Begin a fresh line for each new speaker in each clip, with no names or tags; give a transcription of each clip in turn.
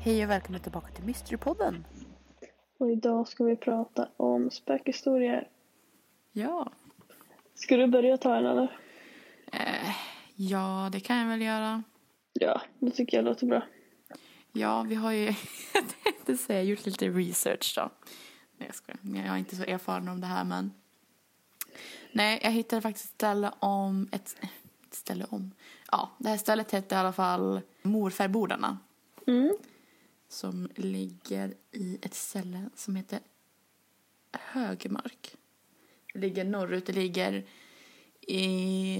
Hej och välkomna tillbaka till Mysterypodden.
Och idag ska vi prata om spökhistorier.
Ja.
Ska du börja ta en eller?
Eh, ja, det kan jag väl göra.
Ja, det tycker jag låter bra.
Ja, vi har ju jag tänkte säga, gjort lite research då. Nej, jag skojar. Jag är inte så erfaren om det här, men. Nej, jag hittade faktiskt ett ställe om... Ett, ett ställe om? Ja, det här stället hette i alla fall Morfärbodarna.
Mm.
Som ligger i ett ställe som heter Högmark. Det ligger norrut, det ligger i...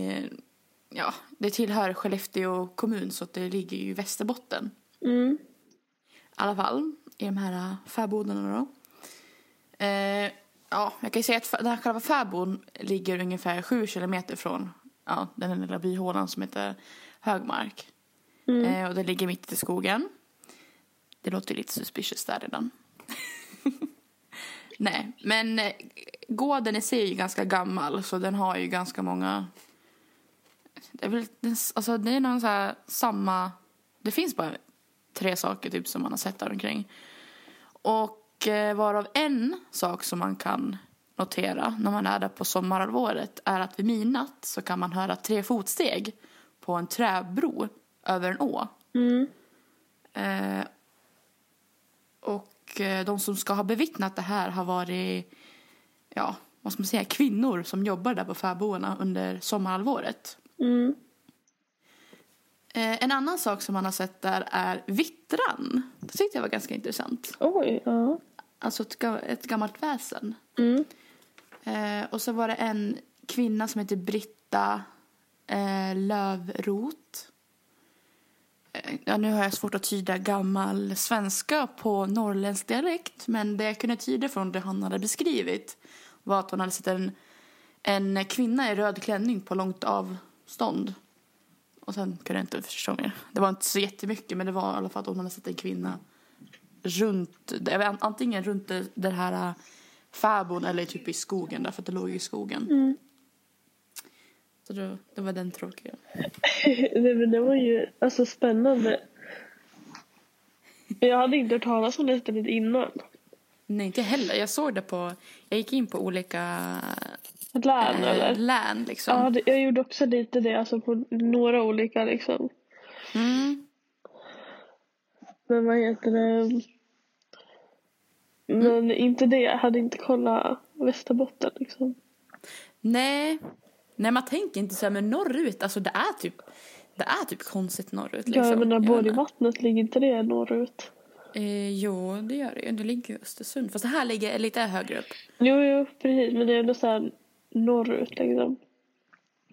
Ja, det tillhör Skellefteå kommun så att det ligger ju i Västerbotten
Mm.
i alla fall i de här äh, fäbodarna då. Eh, ja, jag kan ju säga att fa- den här själva fäboden ligger ungefär sju kilometer från ja, den lilla byhålan som heter Högmark. Eh, och den ligger mitt i skogen. Det låter ju lite suspicious där redan. Nej, men eh, gården i sig är ju ganska gammal så den har ju ganska många... Det är väl, den s- alltså det är någon så här samma... Det finns bara tre saker typ som man har sett där omkring. Och eh, varav en sak som man kan notera när man är där på sommarhalvåret är att vid midnatt så kan man höra tre fotsteg på en träbro över en å.
Mm.
Eh, och eh, de som ska ha bevittnat det här har varit, ja, vad ska man säga, kvinnor som jobbar där på fäbodarna under sommarhalvåret.
Mm.
Eh, en annan sak som man har sett där är vittran. Det tyckte jag var ganska intressant.
Oj, ja.
Alltså ett, ga- ett gammalt väsen.
Mm.
Eh, och så var det en kvinna som heter Britta eh, Lövroth. Eh, Ja, nu har jag svårt att tyda gammal svenska på norrländsk dialekt men det jag kunde tyda från det han hade beskrivit var att hon hade sett en, en kvinna i röd klänning på långt avstånd. Och sen kunde jag inte förstå mer. Det var inte så jättemycket men det var i alla fall att hon hade sett en kvinna runt, jag vet, antingen runt det- den här äh, fäboden eller typ i skogen där för att det låg i skogen.
Mm.
Så då, det var den tråkiga.
Nej, men det var ju alltså spännande. Jag hade inte hört talas om det stället innan.
Nej, inte heller. Jag såg det på, jag gick in på olika
Län
eh,
eller?
län liksom.
Ja, det, jag gjorde också lite det alltså på några olika liksom.
Mm.
Men vad heter det? Men
Mm.
inte det. Jag hade inte kollat Västerbotten liksom.
Nej. Nej, man tänker inte så här, men norrut, alltså det är typ, det är typ konstigt norrut liksom.
Ja, jag menar
Jag vet inte.
Borgvattnet, ligger inte det norrut?
Eh, jo, det gör det ju. Det ligger ju i Östersund. Fast det här ligger lite högre upp.
Jo, jo, precis. Men det är ändå så här norrut liksom.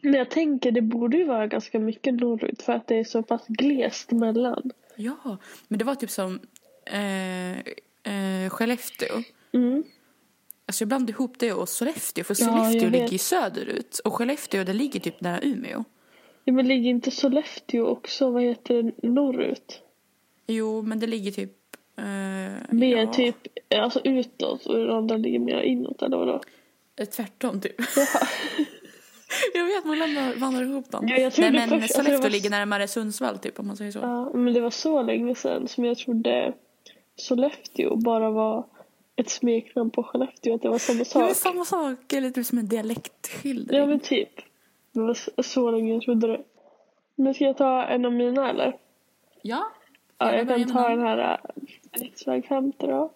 Men jag tänker det borde ju vara ganska mycket norrut för att det är så pass glest mellan.
Ja, men det var typ som eh, eh, Skellefteå.
Mm.
Alltså jag blandade ihop det och Sollefteå, för
Ja, jag
Sollefteå
vet.
ligger ju söderut och Skellefteå det ligger typ nära Umeå.
Ja, men ligger inte Sollefteå också, vad heter det, norrut?
Jo, men det ligger typ... Eh,
Mer
ja,
typ, alltså utåt och den andra ligger mer inåt eller vadå?
eh, Tvärtom typ. jag vet, man blandar, blandar ihop dem.
Ja, jag trodde
Nej, men
först- alltså,
Sollefteå
det var-
ligger närmare Sundsvall typ om man säger så.
Ja, men det var så länge sedan som jag trodde Sollefteå bara var ett smeknamn på Skellefteå, att det var samma
det
sak.
är samma sak, eller typ som en dialektskildring.
Ja men typ. Det var så- så länge jag trodde det. Men ska jag ta en av mina eller?
Ja.
Ja, jag kan
vill börja
ta
med
den här äh, riksväg 50 då.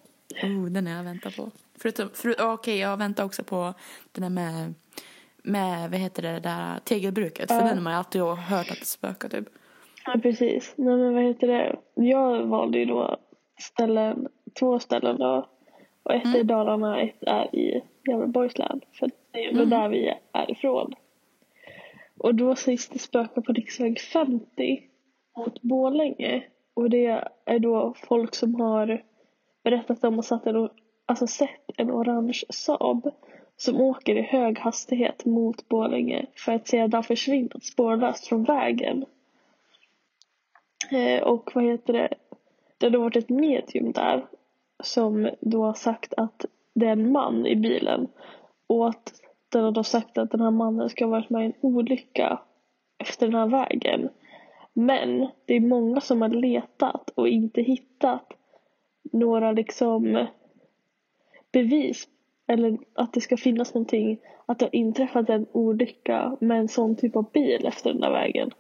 Oh, den har jag väntat på. Förutom, för, Okej, jag väntar också på den där med, med vad heter det, det där tegelbruket.
Ja.
För den har man ju alltid hört att det spökar typ.
Ja precis. Nej men vad heter det? Jag valde ju då ställen, två ställen då. Och ett är i Dalarna ett är i Gävleborgs län. För det är väl där vi är ifrån. Och då sägs det spöka på riksväg 50 mot Borlänge. Och det är då folk som har berättat att de har satt en, o- alltså sett en orange Saab som åker i hög hastighet mot Borlänge för att sedan försvinna spårlöst från vägen. Eh, och vad heter det? Det har då varit ett medium där som då har sagt att det är en man i bilen och att den har då sagt att den här mannen ska ha varit med i en olycka efter den här vägen. Men det är många som har letat och inte hittat några liksom bevis eller att det ska finnas någonting, att det har inträffat en olycka med en sån typ av bil efter den där vägen.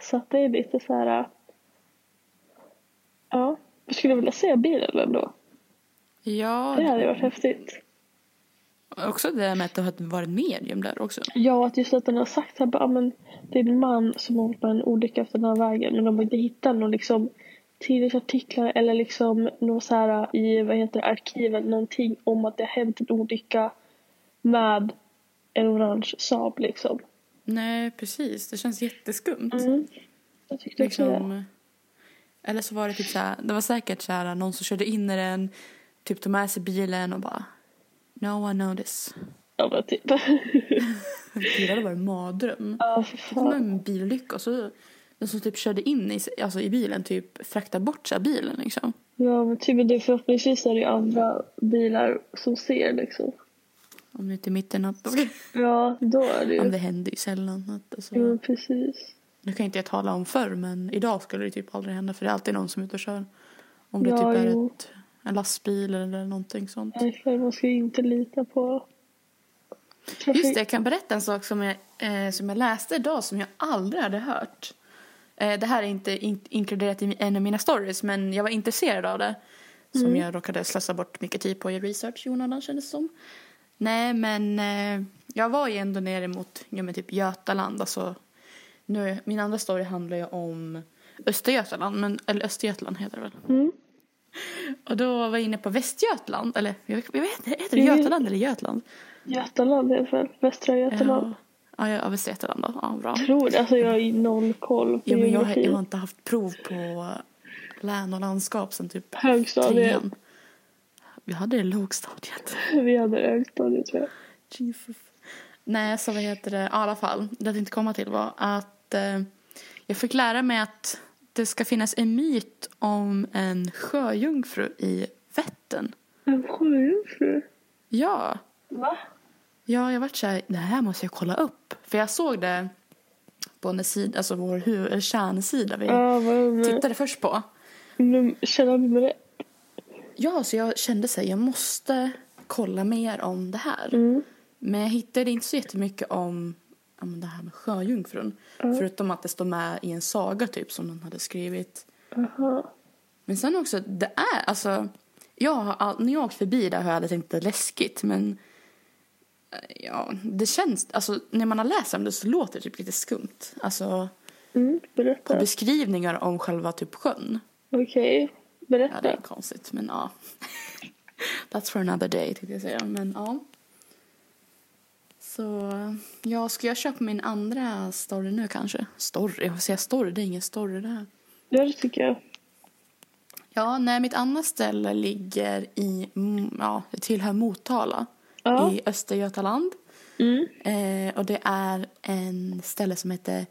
Så att det är lite så här... äh, Ja, jag skulle vilja se bilen ändå.
Ja,
Det hade varit häftigt.
också det med att det har varit medium där också.
Ja, att just att den har sagt så här, bara, "Ja, men det är en man som har hållit på en olycka efter den här vägen men de har inte hittat någon liksom tidningsartiklar eller liksom någon så här i vad heter det, arkiven någonting om att det har hänt en olycka med en orange Saab liksom.
Nej, precis. Det känns jätteskumt.
Jag tyckte också Mm, det.
Liksom, eller så var det typ så här, det var säkert så här, någon som körde in i den, typ tog med sig bilen och bara No one noticed.
Ja, men typ.
Det hade varit en mardröm.
ja, för
Det var
fan.
en bilolycka och så den som typ körde in i, alltså i bilen typ fraktade bort sig bilen liksom.
Ja, men typ men det förhoppningsvis är det ju andra bilar som ser liksom.
Om det inte är mitt i natt.
Ja, då är det
Om
ju.
det händer ju sällan. Att, alltså,
Jo, precis.
Nu kan inte jag tala om förr men idag skulle det typ aldrig hända för det är alltid någon som är ute och kör. Om det
Ja,
typ är
jo.
ett, en lastbil eller någonting sånt.
Därför man ska ju inte lita på...
Just det, jag kan berätta en sak som jag, eh, som jag läste idag som jag aldrig hade hört. Eh, det här är inte in- inkluderat i mi- en av mina stories men jag var intresserad av det. Som
Mm.
jag råkade slösa bort mycket tid på i research i onödan kändes det som. Nej men eh, jag var ju ändå nere mot ja, men typ Götaland. Alltså, nu, min andra story handlar ju om Östergötland, men, eller Östergötland heter det väl.
Mm.
Och då var jag inne på Västgötland, eller jag, jag vet inte, heter det
Mm.
Götaland eller Götland? Eh,
Götaland i alla fall. Västra Götaland.
Ja, ja, ja Västra Götaland då. Ja, bra.
Tror det. Alltså jag har ju noll koll på
Ja, men jag,
geografi.
jag har inte haft prov på län och landskap sen typ
Högstadiet.
trean. Vi hade det i lågstadiet.
Vi hade högstadiet tror jag.
Jesus. Nej, så vad heter det? Ja, I alla fall, det jag tänkte komma till var att eh, jag fick lära mig att det ska finnas en myt om en sjöjungfru i Vättern.
En sjöjungfru?
Ja,
Va?
Ja, jag vart så här, det här måste jag kolla upp. För jag såg det på en sida, alltså vår hu- eller kärnsida vi
Ja, vad med
tittade först på.
num- källa nummer ett.
Ja, så jag kände så här, jag måste kolla mer om det här.
Mm.
Men jag hittade inte så jättemycket om, om det här med sjöjungfrun. Förutom att det står med i en saga typ som någon hade skrivit.
Aha.
Men sen också, det är alltså... Jag har, all- när jag åkt förbi där har jag aldrig tänkt att det är läskigt, men... eh, Ja, det känns... Alltså, när man har läst om det så låter det typ lite skumt. Alltså,
Mm,
på
berätta.
beskrivningar om själva typ sjön.
Okej.
Ja, det är
Berätta.
konstigt, men ja. That's for another day, tänkte jag säga. Men ja. Så, ja, ska jag köpa min andra story nu kanske? Story? Jag säger story, det är ingen story det här.
Ja, det tycker jag.
Ja, nej, mitt andra ställe ligger i, mm, ja, det tillhör Motala
Ja.
i Östergötaland.
Mm.
Eh, och det är en ställe som heter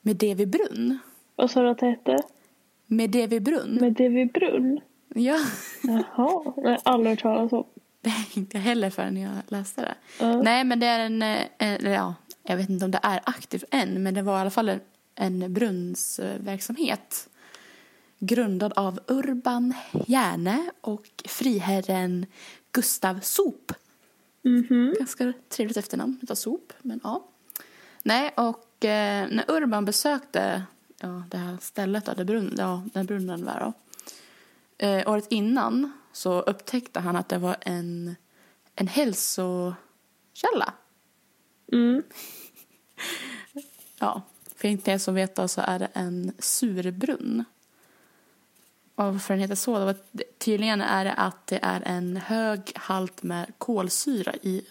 Medevibrunn.
Vad sa du att det hette?
Medevibrunn?
Med Devi Brunn?
Ja,
Jaha. Nej, aldrig hört talas om.
det är inte jag heller förrän jag läste det.
Ja.
Nej, men det är en, eh, eller ja, jag vet inte om det är aktivt än, men det var i alla fall en, en brunnsverksamhet. Grundad av Urban Järne och friherren Gustav Sop.
Mhm.
Ganska trevligt efternamn utav sop, men ja. Nej, och eh, när Urban besökte ja, det här stället, då, där, brunn, ja, där brunnen var då. Eh, året innan så upptäckte han att det var en, en hälsokälla.
Mm.
Ja, för inte er som vet då så är det en surbrunn. Och varför den heter så? Det var, tydligen är det att det är en hög halt med kolsyra i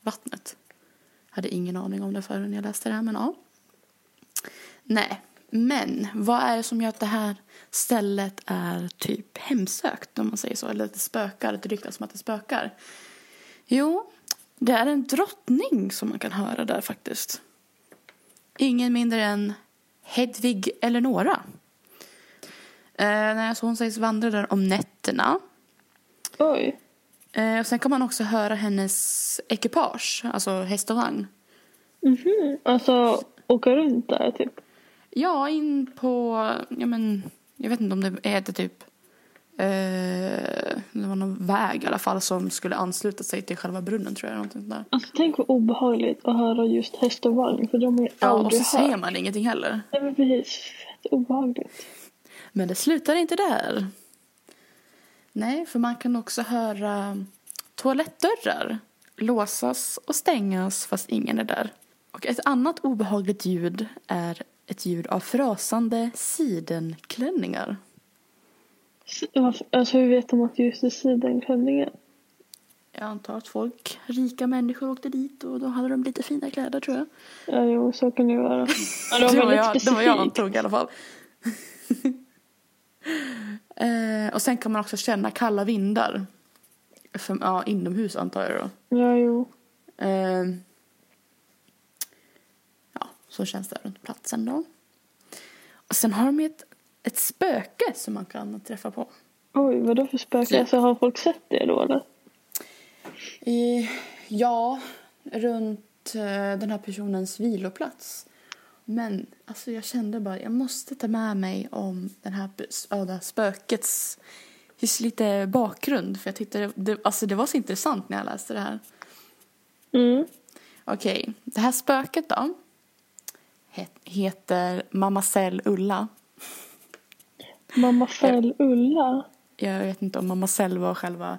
vattnet. Hade ingen aning om det förrän jag läste det här, men ja. Nej, men vad är det som gör att det här stället är typ hemsökt om man säger så? Eller att det spökar, att det ryktas om att det spökar? Jo, det är en drottning som man kan höra där faktiskt. Ingen mindre än Hedvig Eleonora. Eh, nej, så hon sägs vandra där om nätterna.
Oj.
Eh, och sen kan man också höra hennes ekipage, alltså häst och vagn.
Mhm. Alltså åka runt där typ.
Ja, in på, ja men, jag vet inte om det heter typ, eh, det var någon väg i alla fall som skulle ansluta sig till själva brunnen tror jag. Någonting sånt där.
Alltså tänk vad obehagligt att höra just häst och vagn för de har ju
Ja, och
aldrig
så säger
hört.
man ingenting heller.
Nej men precis, fett obehagligt.
Men det slutar inte där. Nej, för man kan också höra toalettdörrar låsas och stängas fast ingen är där. Och ett annat obehagligt ljud är ett ljud av frasande sidenklänningar.
S- varför- Alltså hur vet de att just är sidenklänningar?
Jag antar att folk, rika människor åkte dit och då hade de lite fina kläder tror jag.
Ja jo, så kan det ju vara. Ja,
Det var, jag,
väldigt
det var jag
specifikt.
antog i alla fall. eh, och sen kan man också känna kalla vindar. För, ja, inomhus antar jag då.
Ja jo.
Eh, ja, så känns det runt platsen då. Och sen har de ju ett, ett spöke som man kan träffa på.
Oj vadå för spöke?
Ja.
Alltså har folk sett det då eller?
I, ja, runt eh, den här personens viloplats. Men alltså, jag kände bara jag måste ta med mig om den här, bus- ja, det här spökets just lite bakgrund. För jag tyckte det, det, alltså, det var så intressant när jag läste det här.
Mm.
Okej, det här spöket då het, heter Mamacell Ulla.
Mamma Fäll Ulla.
Jag vet inte om Mamacell var själva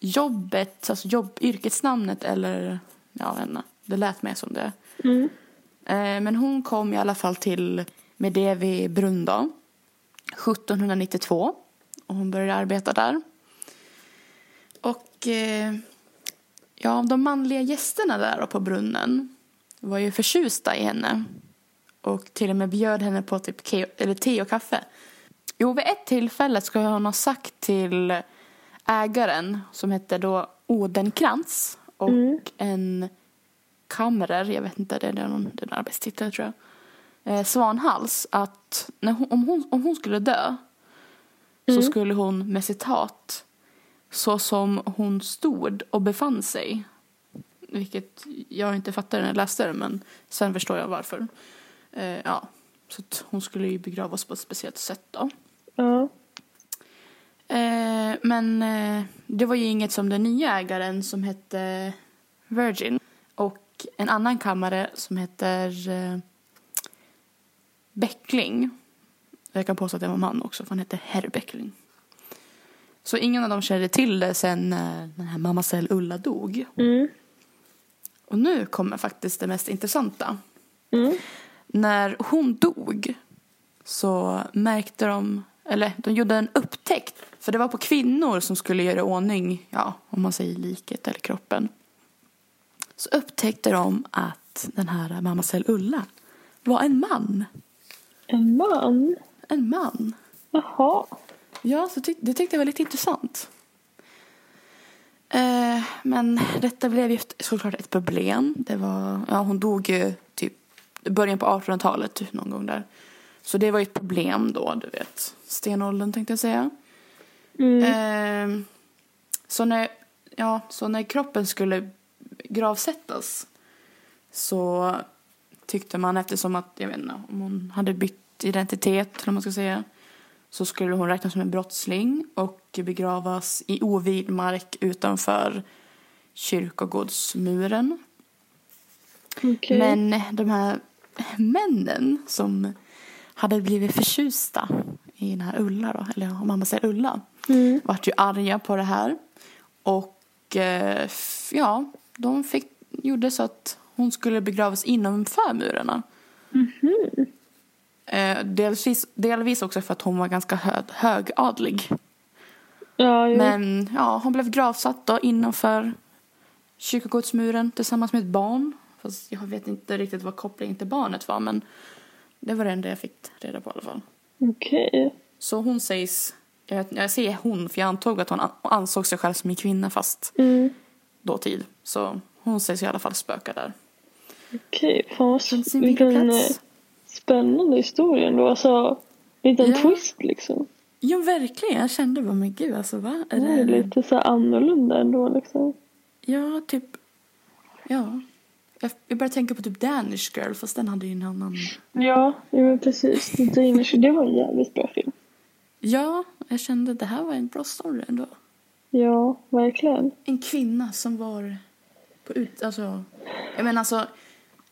jobbet, alltså jobb, yrkesnamnet eller ja, jag vet inte. Det lät mer som det.
Mm.
Eh, Men hon kom i alla fall till Medevi Brunn då, 1792 och hon började arbeta där. Och eh, ja, de manliga gästerna där då på brunnen var ju förtjusta i henne och till och med bjöd henne på typ ke- eller te och kaffe. Jo, vid ett tillfälle ska hon ha sagt till ägaren som hette då Odenkrantz och
Mm.
en kamerer, jag vet inte, det är någon, det är en arbetstitel tror jag, eh, Svanhals, att när hon, om, hon, om hon skulle dö så skulle hon med citat så som hon stod och befann sig, vilket jag inte fattade när jag läste det men sen förstår jag varför. Eh, ja, så att hon skulle ju begravas på ett speciellt sätt då.
Ja.
Eh, men eh, det var ju inget som den nya ägaren som hette Virgin och en annan kammare som heter eh, Beckling. Jag kan påstå att det var en man också, för han hette Herr Beckling. Så ingen av dem kände till det sen eh, när den här mammasell Ulla dog.
Mm.
Och nu kommer faktiskt det mest intressanta.
Mm.
När hon dog så märkte de, eller de gjorde en upptäckt. För det var på kvinnor som skulle göra i ordning, ja, om man säger liket eller kroppen. Så upptäckte de att den här mammasell Ulla var en man.
En man?
En man.
Jaha.
Ja, så tyck- det tyckte jag var lite intressant. Eh, men detta blev ju ett- såklart ett problem. Det var, ja, hon dog ju typ i början på 1800-talet typ, någon gång där. Så det var ju ett problem då, du vet. Stenåldern tänkte jag säga.
Mm.
Eh, så, när, ja, så när kroppen skulle gravsättas så tyckte man eftersom att, jag vet inte, om hon hade bytt identitet eller vad man ska säga så skulle hon räknas som en brottsling och begravas i ovild mark utanför kyrkogårdsmuren.
Okej.
Men de här männen som hade blivit förtjusta i den här Ulla då, eller om man säger Ulla,
Mm.
vart ju arga på det här. Och eh, f- ja, de fick, gjorde så att hon skulle begravas innanför murarna. Eh, delvis, delvis också för att hon var ganska hö- högadlig.
Ja, jo.
Men ja, hon blev gravsatt då innanför kyrkogårdsmuren tillsammans med ett barn. Fast jag vet inte riktigt vad kopplingen till barnet var men det var det enda jag fick reda på i alla fall.
Okej.
Så hon sägs, jag, vet- jag säger hon för jag antog att hon an- ansåg sig själv som en kvinna fast
Mm.
dåtid. Så hon sägs i alla fall spöka där.
Okej, fan vad
Från
s-
sin
vilken eh,
viloplats.
spännande historia ändå. Alltså, liten
Ja.
twist liksom.
Ja verkligen, jag kände bara men gud alltså va? Är
Det är
det...
lite så här annorlunda ändå liksom.
Ja, typ. Ja. Jag, jag började tänka på typ Danish Girl fast den hade ju en annan...
Ja, ja men precis. The Danish, det var en jävligt bra film.
Ja, jag kände att det här var en bra story ändå.
Ja, verkligen.
En kvinna som var på ut... Alltså... Jag menar alltså...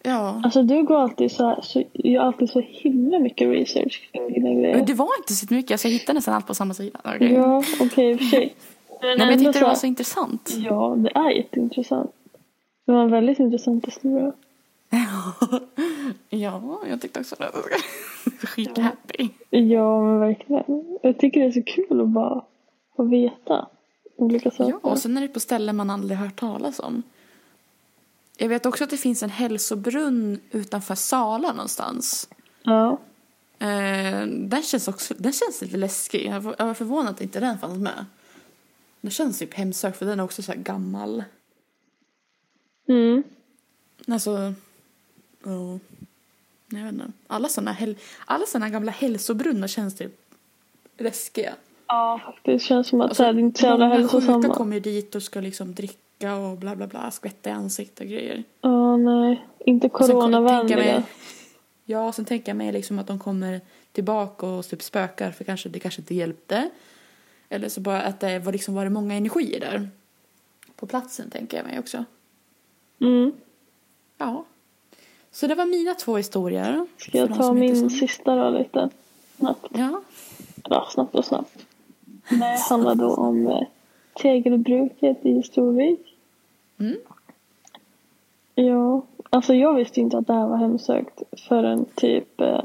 Ja.
Alltså du går alltid så, här, så gör alltid så himla mycket research kring dina
Men
grejer.
det var inte så mycket. Alltså, jag hittade nästan allt på samma sida. Okej.
Ja, okej i och för sig.
Nej, men jag
ändå
tyckte det var
här-
så intressant.
Ja, det är jätteintressant. Det var en väldigt intressant historia.
ja, jag tyckte också det. Skithappy.
Ja, men verkligen. Jag tycker det är så kul att bara få veta olika saker.
Ja, och sen är det på ställen man aldrig hört talas om. Jag vet också att det finns en hälsobrunn utanför Sala någonstans.
ja.
Eh, den känns också den känns lite läskig. Jag var jag var förvånad att inte den fanns med. Den känns typ hemsökt för den är också så här gammal.
Mm.
Alltså, ja. Jag vet inte. Alla såna, häl- alla såna gamla hälsobrunnar känns typ läskiga.
ja, faktiskt. känns som att så här, Alltså, det är inte så jävla
många
hälsosamma.
sjuka kommer ju dit och ska liksom dricka och bla bla bla, skvätta i ansiktet och grejer.
Ja, nej. Inte
Och sen kommer- tänker jag mig-
coronavänliga.
Ja, sen tänker jag mig liksom att de kommer tillbaka och typ spökar för kanske det kanske inte hjälpte. Eller så bara att det var liksom var det många energier där. På platsen tänker jag mig också.
Mm.
Ja. Så det var mina två historier.
Ska jag
För de
ta
som inte
min
så-
sista då lite snabbt?
Ja.
Ja, snabbt och snabbt. Det handlar då om eh, tegelbruket i Storvik.
Mm.
Ja, alltså jag visste inte att det här var hemsökt förrän typ eh,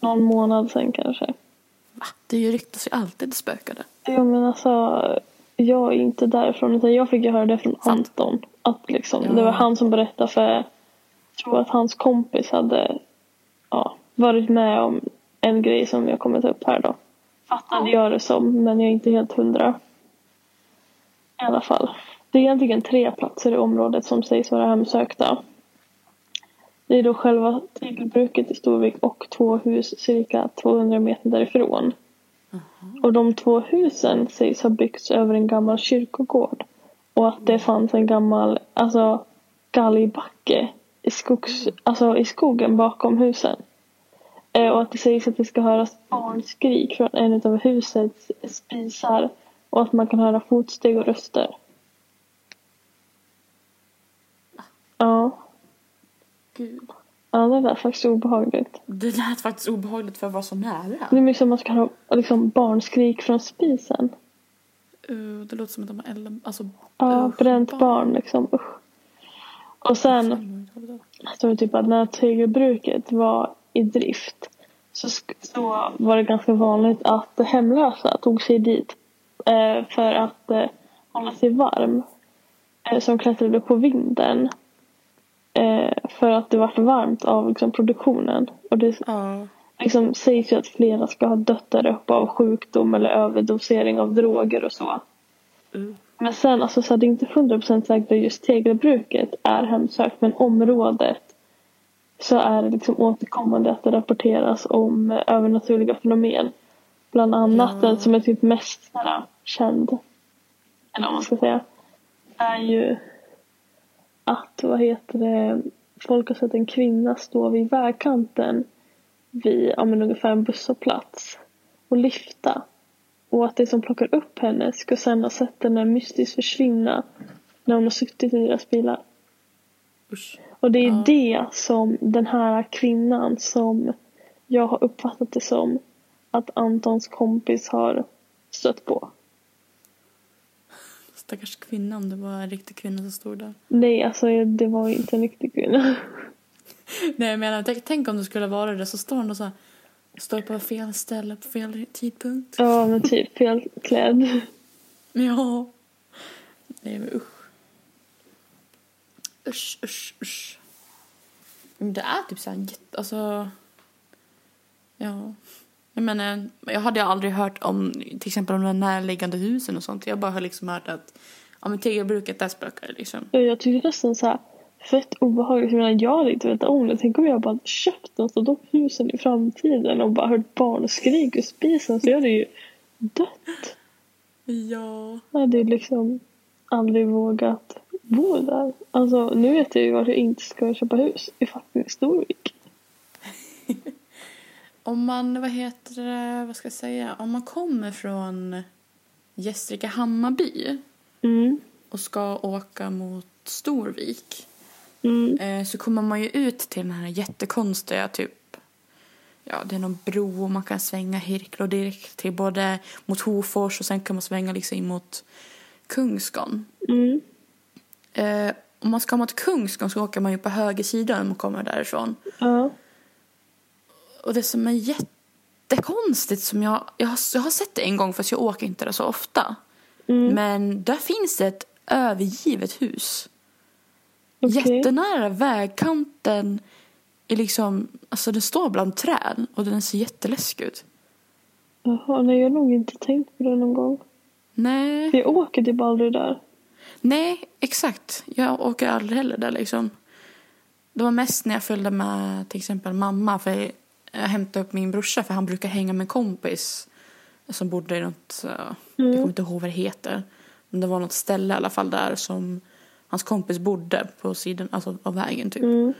någon månad sen kanske.
Va? Det är ju ryktas ju alltid spökade.
Ja men alltså, jag är inte därifrån utan jag fick ju höra det från
Sant.
Anton. Att liksom,
Ja.
Det var han som berättade för, jag tror att hans kompis hade ja, varit med om en grej som jag kommer ta upp här då. Fattade jag det som, men jag är inte helt hundra. I alla fall. Det är egentligen tre platser i området som sägs vara hemsökta. Det är då själva tegelbruket i Storvik och två hus cirka 200 meter därifrån. Och de två husen sägs ha byggts över en gammal kyrkogård. Och att det fanns en gammal alltså, galgbacke i, skogs, alltså, i skogen bakom husen. Eh, och att det sägs att det ska höras barnskrik från en av husets spisar. Och att man kan höra fotsteg och röster. Ja,
Gud.
ja det lät faktiskt obehagligt.
Det lät faktiskt obehagligt för att vara så nära.
Det är mycket som man ska höra liksom, barnskrik från spisen.
Uh, det låter som att de har elda... Alltså,
Ja,
usch,
bränt barn liksom. Usch. Och sen står det typ att när tegelbruket var i drift så, sk- så var det ganska vanligt att hemlösa tog sig dit eh, för att eh, hålla sig varm. Eh, som klättrade på vinden. Eh, för att det var för varmt av liksom, produktionen. Och det
Ja.
liksom, sägs ju att flera ska ha dött där uppe av sjukdom eller överdosering av droger och så.
Uh.
Men sen, alltså, så här, det är inte 100% säkert att just tegelbruket är hemsökt, men området så är det liksom återkommande att det rapporteras om eh, övernaturliga fenomen. Bland annat den som är typ mest så här, känd, eller vad man ska säga, är ju att, vad heter det, folk har sett en kvinna stå vid vägkanten vid, ja men ungefär en busshållplats och lyfta. Och att de som plockar upp henne ska sen ha sett henne mystiskt försvinna när hon har suttit i deras bilar.
Usch.
Och det är det som den här kvinnan som jag har uppfattat det som att Antons kompis har stött på.
Stackars kvinna om det var en riktig kvinna som stod där.
Nej, alltså det var ju inte en riktig kvinna.
Nej, jag menar, tänk, tänk om det skulle vara det. Så står hon och så här, står på fel ställe på fel tidpunkt.
Ja, men typ felklädd.
Ja. Nej, men usch. Usch, usch, usch. Men Det är typ så här jätte... Alltså... Ja. Jag menar, jag hade aldrig hört om till exempel om de närliggande husen och sånt. Jag bara har liksom hört att ja, men tegelbruket, där spökar det liksom.
Och Jag tyckte nästan så här fett obehagligt. Jag menar, jag hade inte vetat om det. Tänk om jag bara hade köpt något av de husen i framtiden och bara hört barnskrik ur spisen så jag hade ju dött.
Ja.
Jag hade ju liksom aldrig vågat bor där. Alltså nu vet jag ju varför jag inte ska köpa hus i fucking Storvik.
Om man, vad heter det, vad ska jag säga, om man kommer från Gästrike Hammarby
Mm.
och ska åka mot Storvik
Mm.
eh, så kommer man ju ut till den här jättekonstiga typ, ja det är någon bro och man kan svänga Hirklo direkt till både mot Hofors och sen kan man svänga liksom in mot Kungsgården.
Mm.
Eh, om man ska mot Kungsgården så åker man ju på höger sida om man kommer därifrån.
Ja.
Och det som är jättekonstigt som jag, jag, har, jag har sett det en gång fast jag åker inte där så ofta.
Mm.
Men där finns det ett övergivet hus.
Okej.
Jättenära vägkanten. Är liksom, alltså den står bland träd och den ser jätteläskig ut.
Jaha, nej jag har nog inte tänkt på det någon gång.
Nej,
Jag åker typ aldrig där.
nej exakt. Jag åker aldrig heller där liksom. Det var mest när jag följde med till exempel mamma. För jag, jag hämtade upp min brorsa för han brukar hänga med en kompis. Som bodde i något, eh,
Mm.
jag kommer inte ihåg vad det heter. Men det var något ställe i alla fall där som hans kompis bodde på sidan alltså, av vägen typ.
Mm.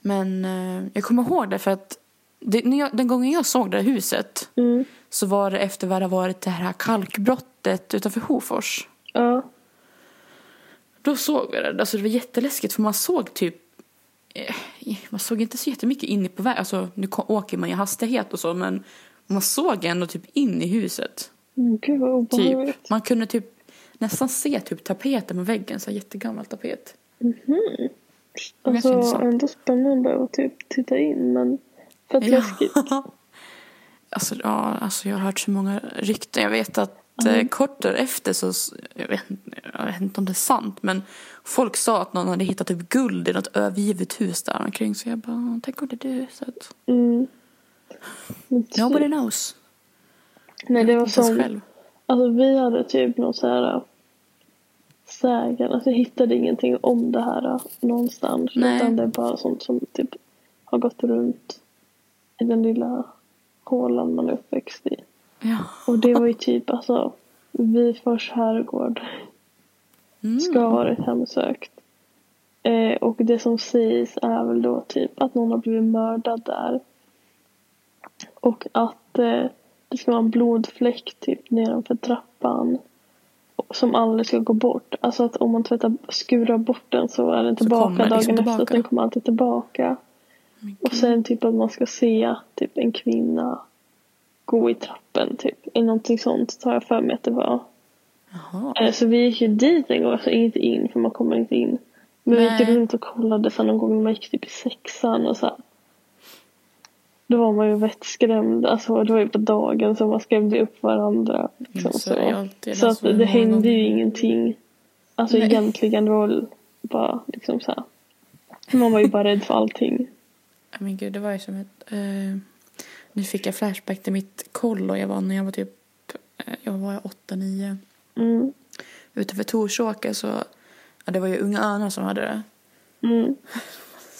Men eh, jag kommer ihåg det för att det, när jag, den gången jag såg det här huset
Mm.
så var det efter vad det varit det här kalkbrottet utanför Hofors.
Ja.
Då såg vi det. Alltså det var jätteläskigt för man såg typ eh, man såg inte så jättemycket in på vägen. Alltså nu ko- åker man i hastighet och så men man såg ändå typ in i huset.
Mm, Gud vad
Typ.
obehagligt.
Man kunde typ nästan se typ tapeten på väggen, så här jättegammal tapet. ganska
Alltså
intressant.
ändå spännande att typ titta in men fett läskigt.
Alltså, ja, alltså jag har hört så många rykten. Jag vet att eh, kort därefter så, jag vet, inte- jag vet inte om det är sant, men folk sa att någon hade hittat typ guld i något övergivet hus där omkring. Så jag bara, tänk om det är det huset.
Mm. Men
Nobody
typ-
knows.
Nej det var
Inte ens
som
själv.
Alltså vi hade typ någon så här sägen, alltså jag hittade ingenting om det här äh, någonstans.
Nej.
Utan det är bara sånt som typ har gått runt i den lilla hålan man är uppväxt i.
Ja.
Och det var ju typ alltså Vifors herrgård
Mm.
ska ha varit hemsökt. Eh, och det som sägs är väl då typ att någon har blivit mördad där. Och att eh, det ska vara en blodfläck typ nedanför trappan. Som aldrig ska gå bort. Alltså att om man tvättar, skurar bort den så är den
kommer
tillbaka
den
dagen
liksom
efter.
tillbaka.
Den kommer alltid tillbaka. Och sen typ att man ska se typ en kvinna gå i trappen typ. Eller någonting sånt tar jag för mig att det var.
Jaha.
Eh, Så vi gick ju dit en gång, alltså inte in för man kommer inte in. Men vi gick
Nej.
runt och kollade sen någon gång när man gick typ i sexan och så här. Då var man ju vettskrämd, alltså det var ju på dagen så man skrämde upp varandra. Liksom,
Mm, så
så
är det ju alltid,
så
alltså,
att det
någon
hände ju
gång.
ingenting. Alltså
Nej.
egentligen det var väl bara liksom så här. Man var ju bara rädd för allting.
Ja, Men gud, det var ju som ett... Eh, nu fick jag flashback till mitt kollo jag var när jag var typ... Eh, jag var åtta, nio.
Mm,
Utanför Torsåker så... Ja, det var ju Unga Örnar som hade det.
mm,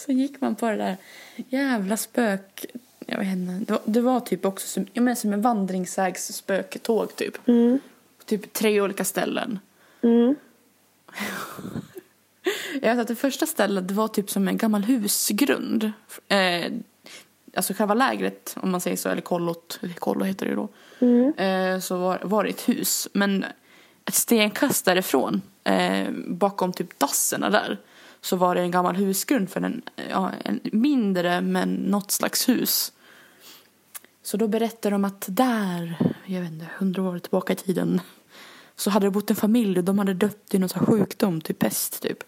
Så gick man på det där jävla spök... Jag vet inte. Det var, det var typ också som, jag menar, som en vandringssägs spöktåg typ.
mm,
Typ tre olika ställen.
mm.
Jag vet att det första stället det var typ som en gammal husgrund. Eh, alltså själva lägret, om man säger så, eller kollot, eller kollo heter det ju då. Eh, så var, var det ett hus. Men ett stenkast därifrån, eh, bakom typ dasserna där, så var det en gammal husgrund för en, ja, en mindre men något slags hus. Så då berättar de att där, jag vet inte, hundra år tillbaka i tiden så hade det bott en familj och de hade dött i någon sån här sjukdom, typ pest typ.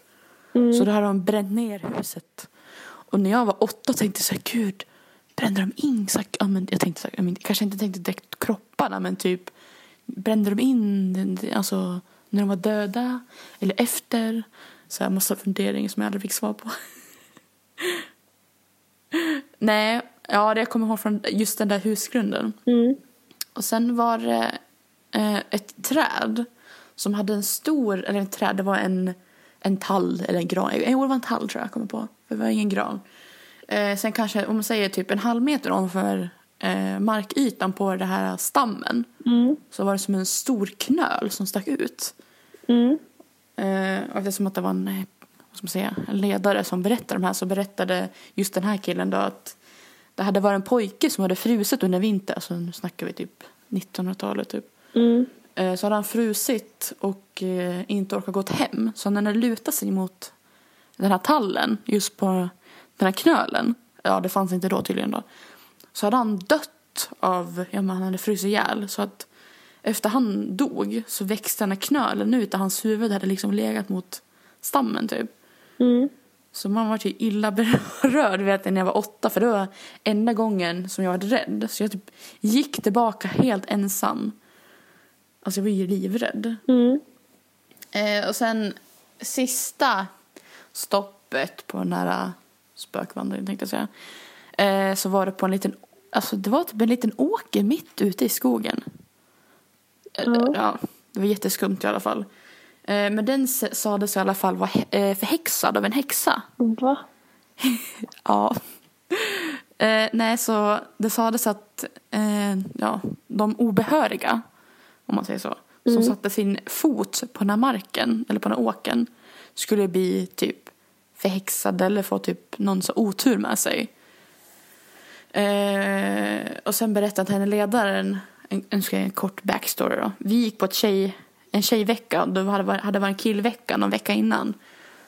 Så då hade de bränt ner huset. Och när jag var åtta tänkte jag så här, gud, brände de in, så här, ja, men jag tänkte så här, jag men, kanske inte tänkte direkt kropparna men typ brände de in, den- den- alltså när de var döda eller efter. Så här massa funderingar som jag aldrig fick svar på. Nej, ja det jag kommer ihåg från just den där husgrunden.
Mm.
Och sen var det eh, ett träd som hade en stor, eller ett träd, det var en, en tall eller en gran. Jo, det var en tall tror jag, jag kommer på. För det var ingen gran. Eh, sen kanske, om man säger typ en halv meter ovanför eh, markytan på den här
mm,
stammen. Så var det som en stor knöl som stack ut.
Mm.
Eh, Eh, och eftersom att det var en, eh, vad ska man säga, en ledare som berättade de här så berättade just den här killen då att det hade varit en pojke som hade frusit under vintern. Alltså nu snackar vi typ 1900-talet typ.
Mm.
Eh, så hade han frusit och eh, inte orkat gått hem. Så när den lutade sig mot den här tallen, just på den här knölen. Ja, det fanns inte då tydligen då. Så hade han dött av, ja men han hade frusit ihjäl. Så att efter han dog så växte den här knölen ut där hans huvud hade liksom legat mot stammen typ.
Mm.
Så man var ju illa berörd vet jag, när jag var åtta för det var enda gången som jag var rädd. Så jag typ gick tillbaka helt ensam. Alltså jag var ju livrädd.
Mm.
Eh, och sen sista stoppet på den här äh, spökvandringen tänkte jag säga. Eh, så var det på en liten, alltså det var typ en liten åker mitt ute i skogen. Eh,
Ja.
Ja, det var jätteskumt i alla fall. Eh, men den s- sades i alla fall vara hä- eh, förhäxad av en häxa.
Va?
Ja. Eh, nej, så det sades att eh, ja, de obehöriga, om man säger så, som satte sin fot på den här marken, eller på den här åken, skulle bli typ förhäxade eller få typ någon så otur med sig. Eh, och sen berättade den här ledaren, en, en, ska jag ge en kort backstory då. Vi gick på ett tjej, en tjejvecka, då hade varit- hade varit en killvecka någon vecka innan.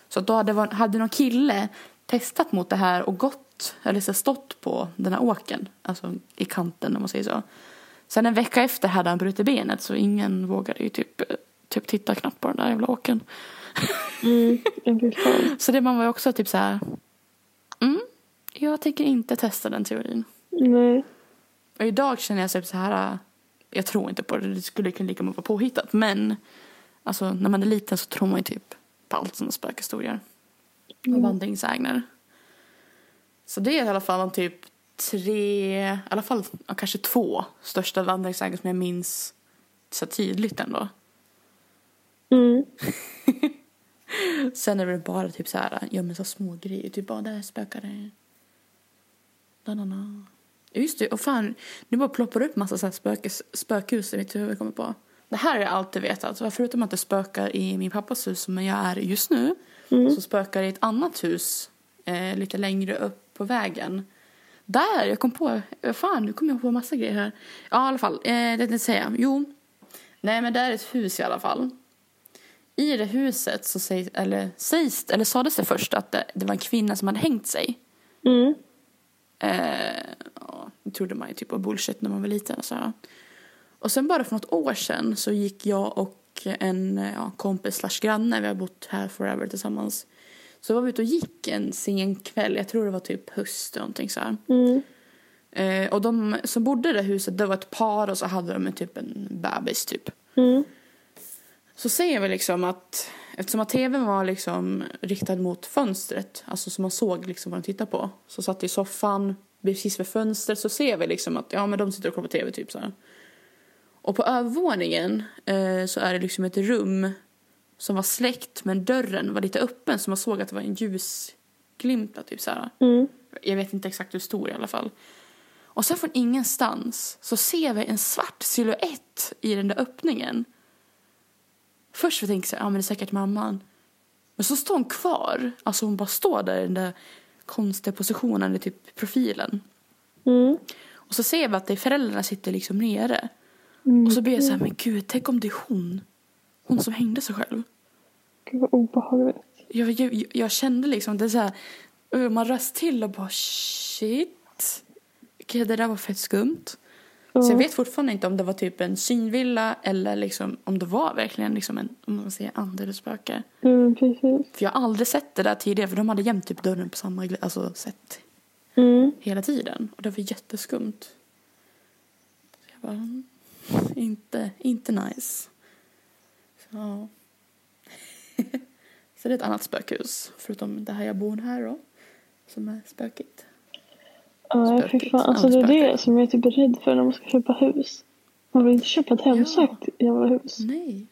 Så då hade, var, hade någon kille testat mot det här och gått, eller så här stått på den här åken, alltså i kanten om man säger så. Sen en vecka efter hade han brutit benet så ingen vågade ju typ, typ titta knappt på den där jävla åken.
Mm. Ja, fy fan.
Så det man var ju också typ så här, mm, jag tänker inte testa den teorin.
Nej.
Och idag känner jag typ så här, äh, jag tror inte på det, det skulle kunna lika mycket vara påhittat. Men alltså, när man är liten så tror man ju typ på allt sådana spökhistorier. Och vandringssägner. Så det är i alla fall de typ tre, i alla fall ja, kanske två största vandringssägner som jag minns så tydligt ändå.
Mm.
Sen är det bara typ så här, ja men så små grejer. Typ bara, där spökar det. Na, na, na. Ja, Just det, och fan, nu bara ploppar det upp massa så här spökes, spökhus i mitt huvud kommer på. Det här har jag alltid vetat, Så alltså, förutom att det spökar i min pappas hus som jag är i just nu, så spökar det i ett annat hus eh, lite längre upp på vägen. Där, jag kom på, eh, fan nu kommer jag på massa grejer här. Ja i alla fall, eh, det tänkte jag säga, jo. Nej men där är ett hus i alla fall. I det huset så sägs, eller, sägs, eller sades det först att det, det var en kvinna som hade hängt sig.
Mm.
Eh, ja, det trodde man ju typ var bullshit när man var liten. Och, så här. och sen bara för något år sedan så gick jag och en eh, ja, kompis slash granne, vi har bott här forever tillsammans. Så var vi ute och gick en sen kväll, jag tror det var typ höst eller någonting så här.
Mm.
Eh, och de som bodde i det huset, det var ett par och så hade de en typ en bebis typ.
Mm.
Så ser vi liksom att eftersom att tvn var liksom riktad mot fönstret, alltså som man såg liksom vad de tittade på. Så satt vi i soffan precis vid fönstret så ser vi liksom att ja men de sitter och kollar på tv typ så här. Och på övervåningen eh, så är det liksom ett rum som var släckt men dörren var lite öppen så man såg att det var en ljusglimta typ så här.
Mm.
Jag vet inte exakt hur stor i alla fall. Och sen från ingenstans så ser vi en svart silhuett i den där öppningen. Först så tänker jag ja men det är säkert mamman. Men så står hon kvar. Alltså hon bara står där i den där konstiga positionen, eller typ profilen.
Mm.
Och så ser vi att det är föräldrarna sitter liksom nere. Och så blir jag så här, men gud, tänk om det är hon. Hon som hängde sig själv.
Gud vad obehagligt.
Jag, jag, jag- jag kände liksom det är så här, uh, man röst till och bara shit. Okej, det där var fett skumt. Så jag
Ja.
vet fortfarande inte om det var typ en synvilla eller liksom om det var verkligen liksom en, om man säger ande eller spöke.
Mm, precis.
För jag har aldrig sett det där tidigare för de hade jämt typ dörren på samma gl- alltså, sätt
Mm.
hela tiden. Och det var jätteskumt. Så jag bara, mm, inte, inte nice. Så, ja. så det är ett annat spökhus, förutom det här jag bor här då, som är spökigt.
Ja, fy
Spökigt.
fan. Alltså det
Ja,
är det
spökigt.
som jag är typ rädd för när man ska köpa hus. Man vill inte köpa ett hemsökt jävla hus.
Nej.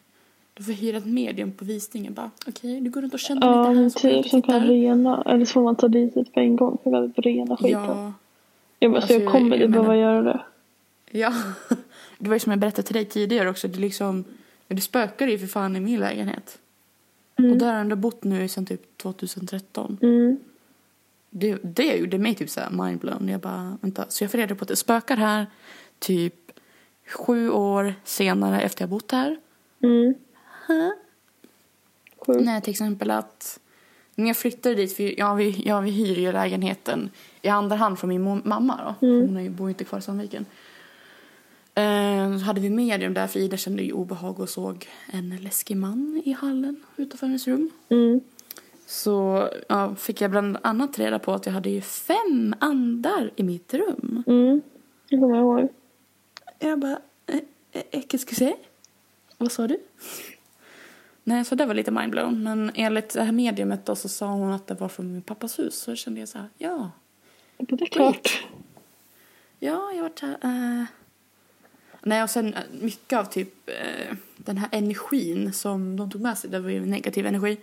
Du får hyra ett medium på visningen bara, okej, du går runt och känner
Ja,
lite här
men
så man
typ
inte
som kan
tittar.
rena. Eller så får man ta dit det på en gång för att rena skiten.
Ja,
jag bara,
alltså,
så jag kommer
jag
inte behöva
menar-
göra det.
ja. Det var ju som jag berättade till dig tidigare också, det liksom, det spökar ju för fan i min lägenhet.
Mm.
Och där har jag ändå bott nu sedan typ 2013.
Mm.
Det, det gjorde mig typ såhär mindblown. Jag bara, vänta. Så jag får reda på att det spökar här typ sju år senare efter jag bott här.
Mm.
Huh?
Sjukt.
Nej, till exempel att när jag flyttade dit, för jag, vi, jag, vi hyr ju lägenheten i andra hand från min mo- mamma då, för
Mm.
hon har ju- bor ju inte kvar i Sandviken. Eh, så hade vi medium där för Ida kände ju obehag och såg en läskig man i hallen utanför hennes rum.
Mm.
Så ja, fick jag bland annat reda på att jag hade ju fem andar i mitt rum.
Mm. Det kommer jag ihåg.
Jag bara, eh, eh, excusez? Vad sa du? Nej, så det var lite mindblown. Men enligt det här mediumet då så sa hon att det var från min pappas hus. Så kände jag så här, ja.
Jag bara, Det är klart.
Ja, jag har varit här. eh. Nej, och sen eh, mycket av typ eh, den här energin som de tog med sig, det var ju negativ energi.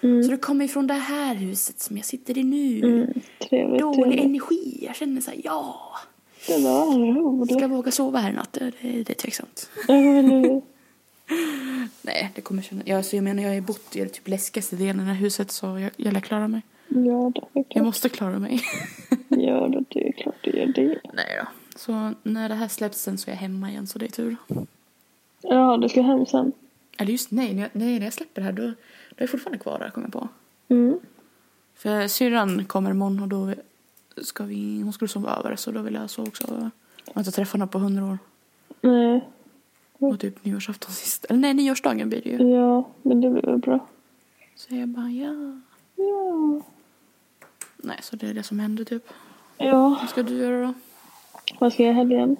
Så det kommer ifrån det här huset som jag sitter i nu.
Mm. Trevligt.
Dålig
trevligt.
energi. Jag känner så här, ja.
Det var
Ska
roligt.
jag våga sova här i natt? Det, det, det är tveksamt.
Ja, men det-
Nej, det kommer känna. Ja, så jag menar, jag har ju bott i den typ läskigaste delen i det här huset så jag, jag lär klara mig.
Gör det. det är
Jag
klart.
måste klara mig.
Gör det. Det är klart du gör det.
Nej då. Så när det här släpps sen så är jag hemma igen så det är tur.
Ja, du ska hem sen.
Eller just nej, när jag, nej, när jag släpper det här då, då är jag fortfarande kvar där kommer jag på.
Mm.
För syrran kommer imorgon och då ska vi, hon skulle sova över så då vill jag sova också. Jag har inte träffat henne på hundra år.
Nej.
Och typ nyårsafton sist. Eller nej, nyårsdagen blir det ju.
Ja, men det blir väl bra.
Så jag bara ja.
Ja.
Nej, så det är det som händer typ.
Ja,
Vad ska du göra då?
vad ska jag i helgen?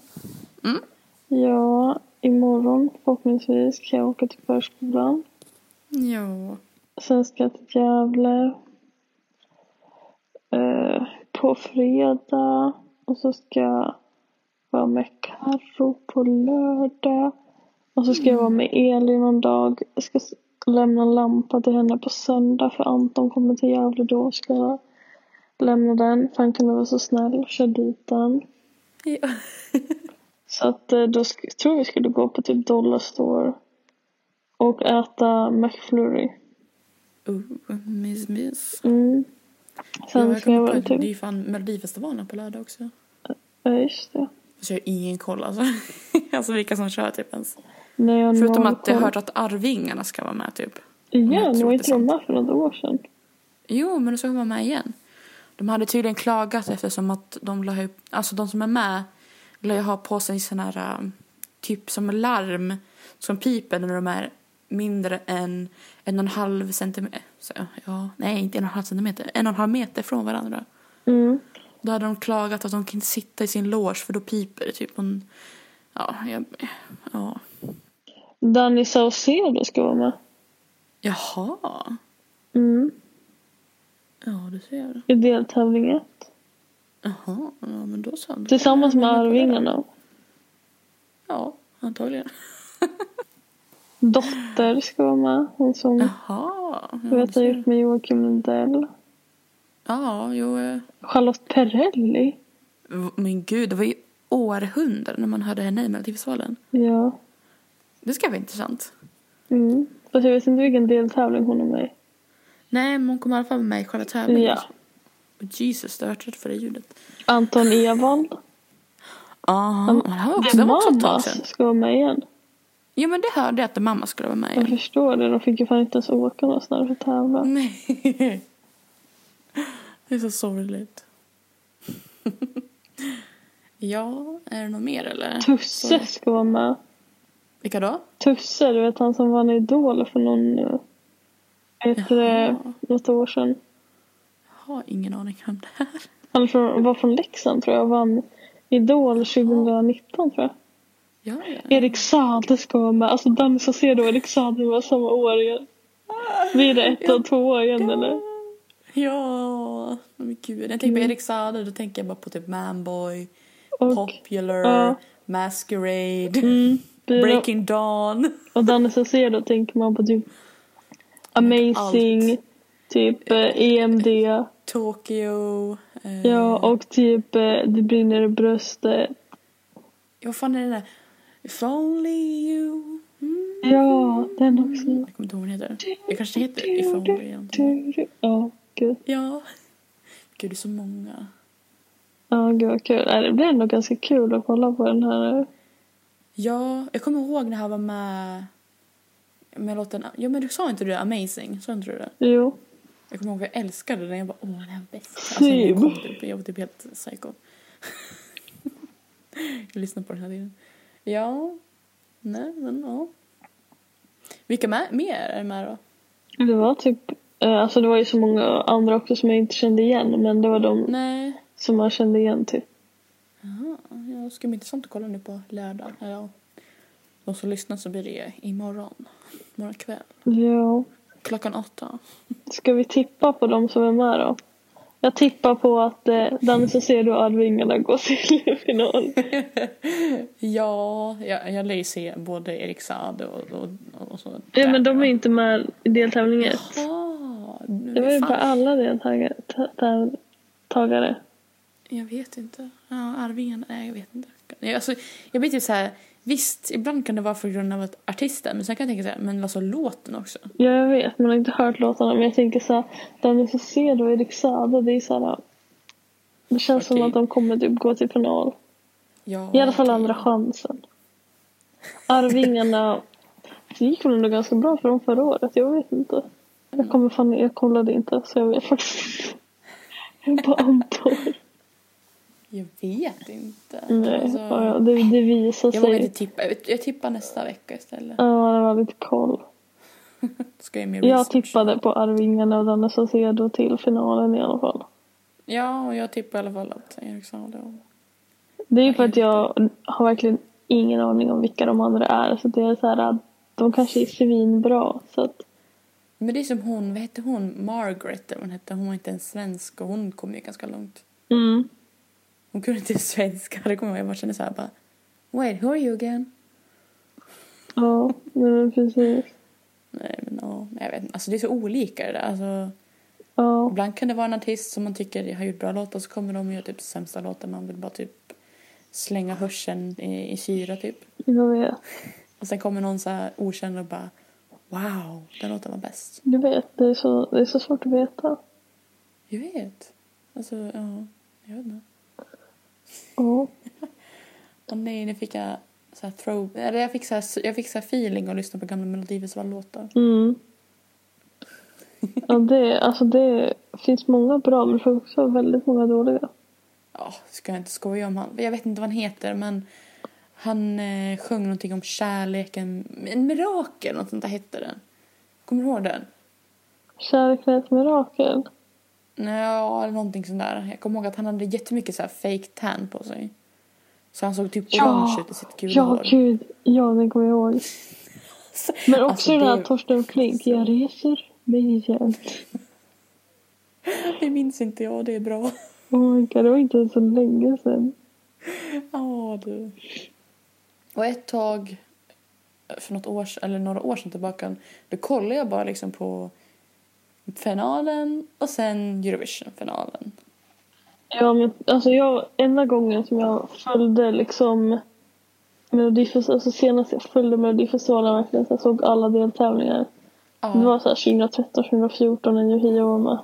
Mm.
Ja, imorgon förhoppningsvis kan jag åka till förskolan.
Ja.
Sen ska jag till Gävle. Eh, på fredag. Och så ska jag vara med Karo på lördag. Och så ska jag vara med Elin någon dag. Jag ska s- lämna en lampa till henne på söndag för Anton kommer till Gävle då. Ska jag lämna den för han kunde vara så snäll och köra dit den.
ja.
Så att eh, då sk- tror vi skulle gå på typ Dollarstore. Och äta McFlurry.
Oh, miss, miss.
Mm.
Ja,
Sen
jag
ska jag
kommer på
vara
att det är
typ...
ju fan Melodifestivalen på lördag också.
Ja, just det.
Så jag har ingen koll alltså. alltså vilka som kör typ ens.
Nej, jag har
Förutom
noll
att jag
koll.
hört att Arvingarna ska vara med typ. jag
Igen,
tror
var
att
inte
det är
de med för något år sedan?
Jo, men de ska vara med igen. De hade tydligen klagat eftersom att de la upp, alltså de som är med la ju ha på sig sån här um, typ som larm som piper när de är mindre än en och en halv centimeter, ja, nej inte en och en halv centimeter, en och en halv meter från varandra.
Mm.
Då hade de klagat att de kan inte sitta i sin loge för då piper det typ. En, ja, jag, ja.
Danny Saucedo ska vara med.
Jaha.
Mm.
Ja, du ser.
I deltävling ett.
Jaha, ja, men då så.
Tillsammans med Arvingarna.
Ja, antagligen.
Dotter ska vara med. Hon som
Jaha. Ja, du
duettar
ser.
ihop med Joakim Lundell.
ja jo. eh,
Charlotte Perrelli.
v- Men gud, det var ju århundraden när man hörde henne i Melodifestivalen.
Ja.
Det ska vara intressant.
Mm. Fast jag vet inte vilken deltävling hon är med i.
Nej, men hon kommer i alla fall vara med i själva tävlingen.
Ja.
Och Jesus, det har varit rädd för det ljudet.
Anton Ewald.
Aha,
Mm,
men det här var också,
The
det var också ett tag sedan.
Mamas ska vara med igen.
Ja, men det hörde jag att mamma skulle vara med i.
Jag förstår det. De fick ju fan inte ens åka någonstans för att tävla.
Nej. Det är så sorgligt. ja, är det något mer eller?
Tusse
Så-
ska vara med.
Vilka då?
Tusse, du vet han som vann Idol för någon... eh, Vad heter det?
Jaha.
Något år sedan.
Har ingen aning om det här.
Han från, var från Leksand tror jag och vann Idol 2019 tror jag.
Ja, ja.
Erik Saade ska vara med. Alltså Danny Saucedo och Erik Saade var samma år igen. Blir det ett
Oh
och två igen eller? Mm.
Ja, men gud. När jag tänker på Erik Saade då tänker jag bara på typ Manboy,
Och-
Popular,
ja.
Masquerade,
Mm, blir det-
Breaking Dawn.
Och Danny Saucedo tänker man på typ Amazing,
Allt.
typ eh, EMD,
Tokyo. Eh,
ja och typ eh, Det brinner i bröstet.
Vad fan är det där? If only you... Mm.
Ja, den också.
Jag kommer inte ihåg vad den heter. Det kanske heter If Only. eller någonting.
Ja, gud.
Ja. Gud, det är så många.
Ja, gud vad kul. Nej, Det blir ändå ganska kul att kolla på den här.
Ja, jag kommer ihåg när han var med med låten... Ja, men du sa inte du Amazing? Sa inte du det?
Jo.
Jag kommer ihåg att jag älskade den. Jag bara, åh, den här är bäst. Alltså, jag, kom typ, jag var typ helt psycho. jag lyssnade på den här tiden. Ja. Nej, men ja. Vilka med, mer är med då?
Det var typ, eh, alltså det var ju så många andra också som jag inte kände igen men det var de
Nej.
som man kände igen typ.
Jaha. Ja, det ska bli intressant att kolla nu på lördag. Eller ja. De som lyssnar så blir det imorgon. Imorgon kväll.
Ja.
Klockan åtta.
Ska vi tippa på de som är med då? Jag tippar på att eh, Danne ser du Arvingarna går till final.
Ja, jag, jag lär ju se både Erik Saade och, och, och så.
Ja men de är inte med i deltävling 1.
Jaha.
Det var ju
fan.
bara alla deltagare.
Jag vet inte. Ja, Arvingen, nej jag vet inte. Jag, alltså, jag blir typ så här, visst, ibland kan det vara för grund av att artisten, men sen kan jag tänka så här, men alltså låten också.
Ja jag vet, man har inte hört låtarna men jag tänker såhär, Danne ser du Erik Saade, det är såhär. Det känns som
Okej.
att de kommer typ gå till final.
Ja, typ.
I alla fall
okej.
andra chansen. Arvingarna. Det gick väl ändå ganska bra för dem förra året. Jag vet inte. Jag kommer fan Jag kollade inte så jag vet faktiskt inte. Jag bara antar.
Jag vet inte.
Nej,
Alltså,
ja, ja, det, det visar
jag vågar
sig.
inte tippa. Jag- Jag tippar nästa vecka istället.
Ja, det var lite koll.
Ska jag göra mer
Jag
research.
tippade på Arvingarna och Danne Saucedo till finalen i alla fall.
Ja, och jag tippar i alla fall att Erik Saade och...
Det är ju för att jag har verkligen ingen aning om vilka de andra är. Så det är så här att de kanske är svinbra. Så att,
Men det är som hon, vad hette hon? Margaret, eller vad hon hette. Hon var inte ens svensk och hon kom ju ganska långt.
mm.
Hon kunde inte svenska, det kommer jag ihåg. Jag bara kände så här bara... Wait, who are you again?
Ja, men precis.
Nej, men ja, nej, jag vet inte. Alltså det är så olika det där. Alltså,
Ja.
ibland kan det vara en artist som man tycker har gjort bra låtar så kommer de och gör typ sämsta låtar. Man vill bara typ slänga hörseln i, i syra typ.
Jag vet.
Och sen kommer någon så här okänd och bara wow, den låten var bäst.
Du vet, det är så, det är så svårt att veta.
Jag vet. Alltså, ja, jag vet inte.
Ja.
Och nej, nu fick jag så här throw, eller jag fick så här, jag fick så här feeling och lyssna på gamla melodifestivallåtar.
Mm. Ja, det, alltså det finns många bra men det finns också väldigt många dåliga.
Ja, ska jag inte skoja om han. Jag vet inte vad han heter, men han eh, sjöng någonting om kärleken. En mirakel, något sånt där hette den. Kommer du ihåg den?
Kärlek är ett mirakel.
Ja, eller någonting sånt där. Jag kommer ihåg att han hade jättemycket så här fake tan på sig. Så han såg typ
Ja.
orange ut i sitt gula
Ja,
hår.
gud. Ja, den kommer jag ihåg. Men också
Alltså,
den här
det-
Torsten Flink. Jag reser mig igen.
Det minns inte jag, det är bra.
Oh my god, det var inte så länge sedan.
Ja, du. Och ett tag, för något år, eller några år sedan tillbaka, då kollade jag bara liksom på finalen och sen Eurovision-finalen.
Ja, men alltså jag, enda gången som jag följde liksom Melodifestivalen, alltså senast jag följde Melodifestivalen verkligen, så jag såg alla deltävlingar.
Ja.
Det var så här 2013, 2014 när Yohio var med.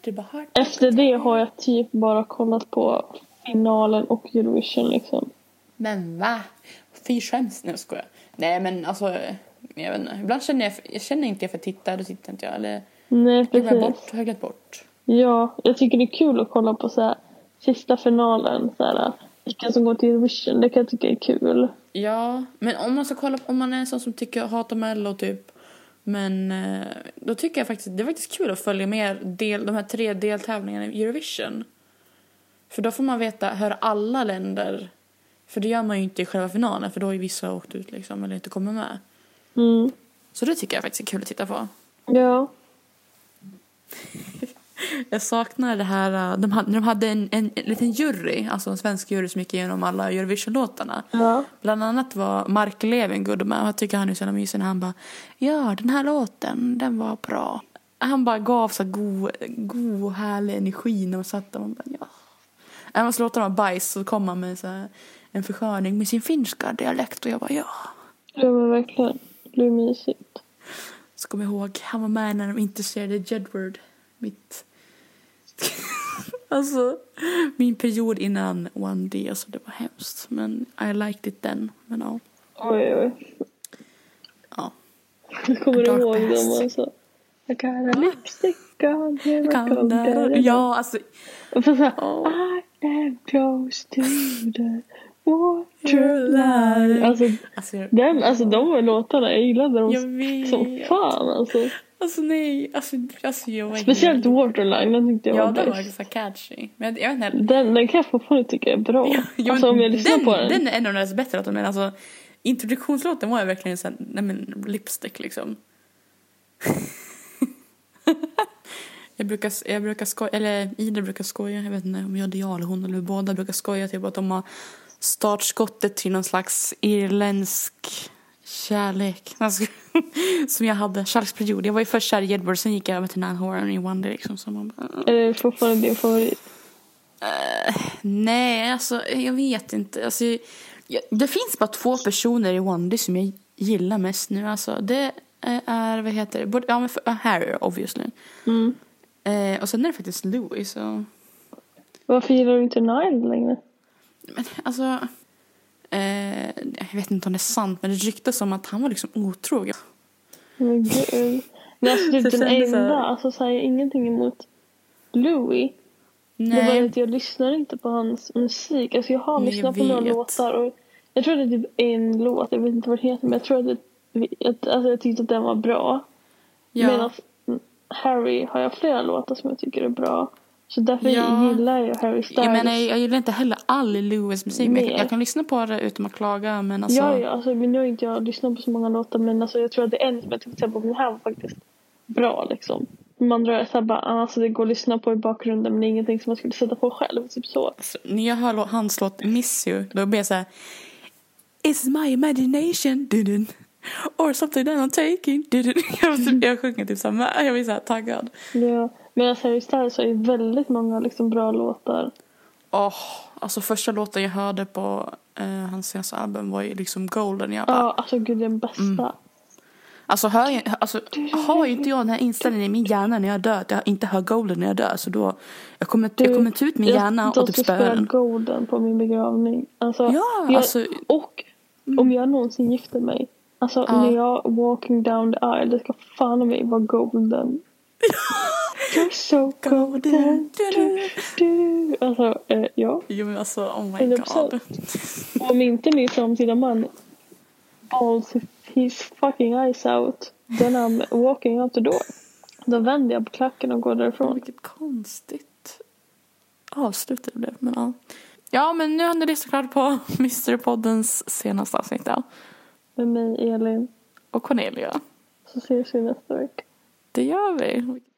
Det är bara hört.
Efter det har jag typ bara kollat på finalen och Eurovision liksom.
Men va? Fy skäms. Nej, jag Nej, men alltså... Jag vet inte. Ibland känner jag, jag känner inte jag för att titta, då tittar inte jag. Eller
Nej,
glömmer
precis.
jag bort, har jag glömt bort.
Ja, jag tycker det är kul att kolla på så här sista finalen, så här, vilka som går till Eurovision. Det kan jag tycka är kul.
Ja, men om man ska kolla om man är en sån som tycker hatar Mello typ. Men eh, då tycker jag faktiskt det är faktiskt kul att följa med del, de här tre deltävlingarna i Eurovision. För då får man veta, höra alla länder. För det gör man ju inte i själva finalen för då har ju vissa åkt ut liksom eller inte kommer med.
Mm.
Så det tycker jag faktiskt är kul att titta på.
Ja.
Jag saknar det här, eh, de hade, de hade en, en, en liten jury, alltså en svensk jury som gick igenom alla Eurovision-låtarna.
Ja.
Bland annat var Mark Levengood med och jag tycker han är så jävla mysig när han bara Ja, den här låten, den var bra. Han bara gav så här god, god härlig energi när man satt där. Man bara, ja. Även fast låtarna var bajs så kom han med så här en försköning med sin finska dialekt och jag bara ja.
Ja men verkligen. Det blir mysigt.
Så kom jag ihåg, han var med när de intresserade Jedward. Mitt... alltså, min period innan 1D, alltså det var hemskt. Men I liked it then. Men ja.
Oj oj.
ja.
Jag kommer
Dark
ihåg
past. Mm.
dem alltså. Jag kan ha lipstick on here.
Kan där- Ja, alltså.
Och så såhär.
åh.
I am close to the waterline. Alltså
Alltså, jag-
den, alltså de låtarna, jag gillade dem
Jag vet.
som fan alltså.
alltså nej. Alltså, alltså jag var
Speciellt Waterline, den tyckte jag
Ja,
var
den var
bäst.
så catchy. Men jag, jag vet inte.
Den, den kan jag fortfarande tycka är bra.
Jo,
alltså om jag lyssnar
den,
på den.
den är en av deras bättre låtar. Men alltså, introduktionslåten var ju verkligen såhär, nej men lipstick liksom. jag brukar, jag brukar skoja, eller Ida brukar skoja, jag vet inte om jag det är jag eller hon eller vi båda brukar skoja typ att de har startskottet till någon slags irländsk kärlek. Alltså, som jag hade, kärleksperiod. Jag var ju först kär i Edward, sen gick jag över till Nan Horan i Wonder liksom. Så man bara,
Är det fortfarande din favorit?
Eh, nej, alltså jag vet inte. Alltså, jag, det finns bara två personer i Wandy som jag gillar mest nu. Alltså, det är, vad heter det, både, ja, men för, ja, Harry obviously.
Mm.
Eh, och sen är det faktiskt Louis. Så,
Varför gillar du inte Nile längre?
men, alltså, eh, jag vet inte om det är sant, men det ryktas om att han var liksom otrogen.
Men gud. Men alltså
Så
typ den
kändes det.
enda, alltså så här, jag har ingenting emot Louis. Det var bara
Nej,
att jag lyssnar inte på hans musik. Alltså jag har
Nej, jag
lyssnat på några
vet.
låtar och jag tror det är typ en låt, jag vet inte vad det heter men jag tror att, det, att alltså jag tyckte att den var bra.
ja.
Medan Harry har jag flera låtar som jag tycker är bra. Så därför
Ja.
gillar jag Harry Styles.
jag, menar, jag gillar inte heller all Louis musik. men Jag,
Nej.
jag kan lyssna på det utan att klaga. Men alltså,
Ja, ja, alltså, men nu har inte jag lyssnat på så många låtar men alltså, jag tror att det är en som jag tyckte att den här var faktiskt bra liksom. De andra är såhär bara, ah, alltså det går att lyssna på i bakgrunden men det är ingenting som man skulle sätta på själv, typ så.
Så när jag hör lå- hans låt Miss You, då blir jag så här... It's my imagination, didn't. Or something that I'm taking, didn't. Jag, typ- jag sjunger typ så här, men jag blir så här taggad.
Ja. Medan Harry Styles har ju väldigt många liksom, bra låtar.
Åh, alltså första låten jag hörde på eh, hans senaste album var ju liksom Golden. Jag bara,
Ja, alltså gud det är den bästa.
Mm, alltså, hör jag, alltså har ju inte jag den här inställningen i min hjärna när jag dör, att jag inte hör Golden när jag dör, så då, jag kommer, jag kommer ta ut min
Jag-
hjärna
de
och typ
ska
spöa
spela
den.
Golden på min begravning. Alltså,
Ja,
jag,
alltså-
Och om jag någonsin gifter mig. Alltså
Mm. Ja.
när jag walking down the aisle, det ska fan mig vara golden. You're so golden.
Golden.
Du, du. Alltså, eh, ja.
Jo men alltså, oh my
100%.
god.
Om inte min framtida man balls his fucking eyes out then I'm walking out the door. Då vänder jag på klacken och går därifrån.
Vilket konstigt avslut det blev. Men ja. ja, men nu har ni lyssnat klart på Mysterypoddens senaste avsnitt. ja.
Med mig, Elin.
Och Cornelia.
Så ses vi nästa vecka.
Det gör vi.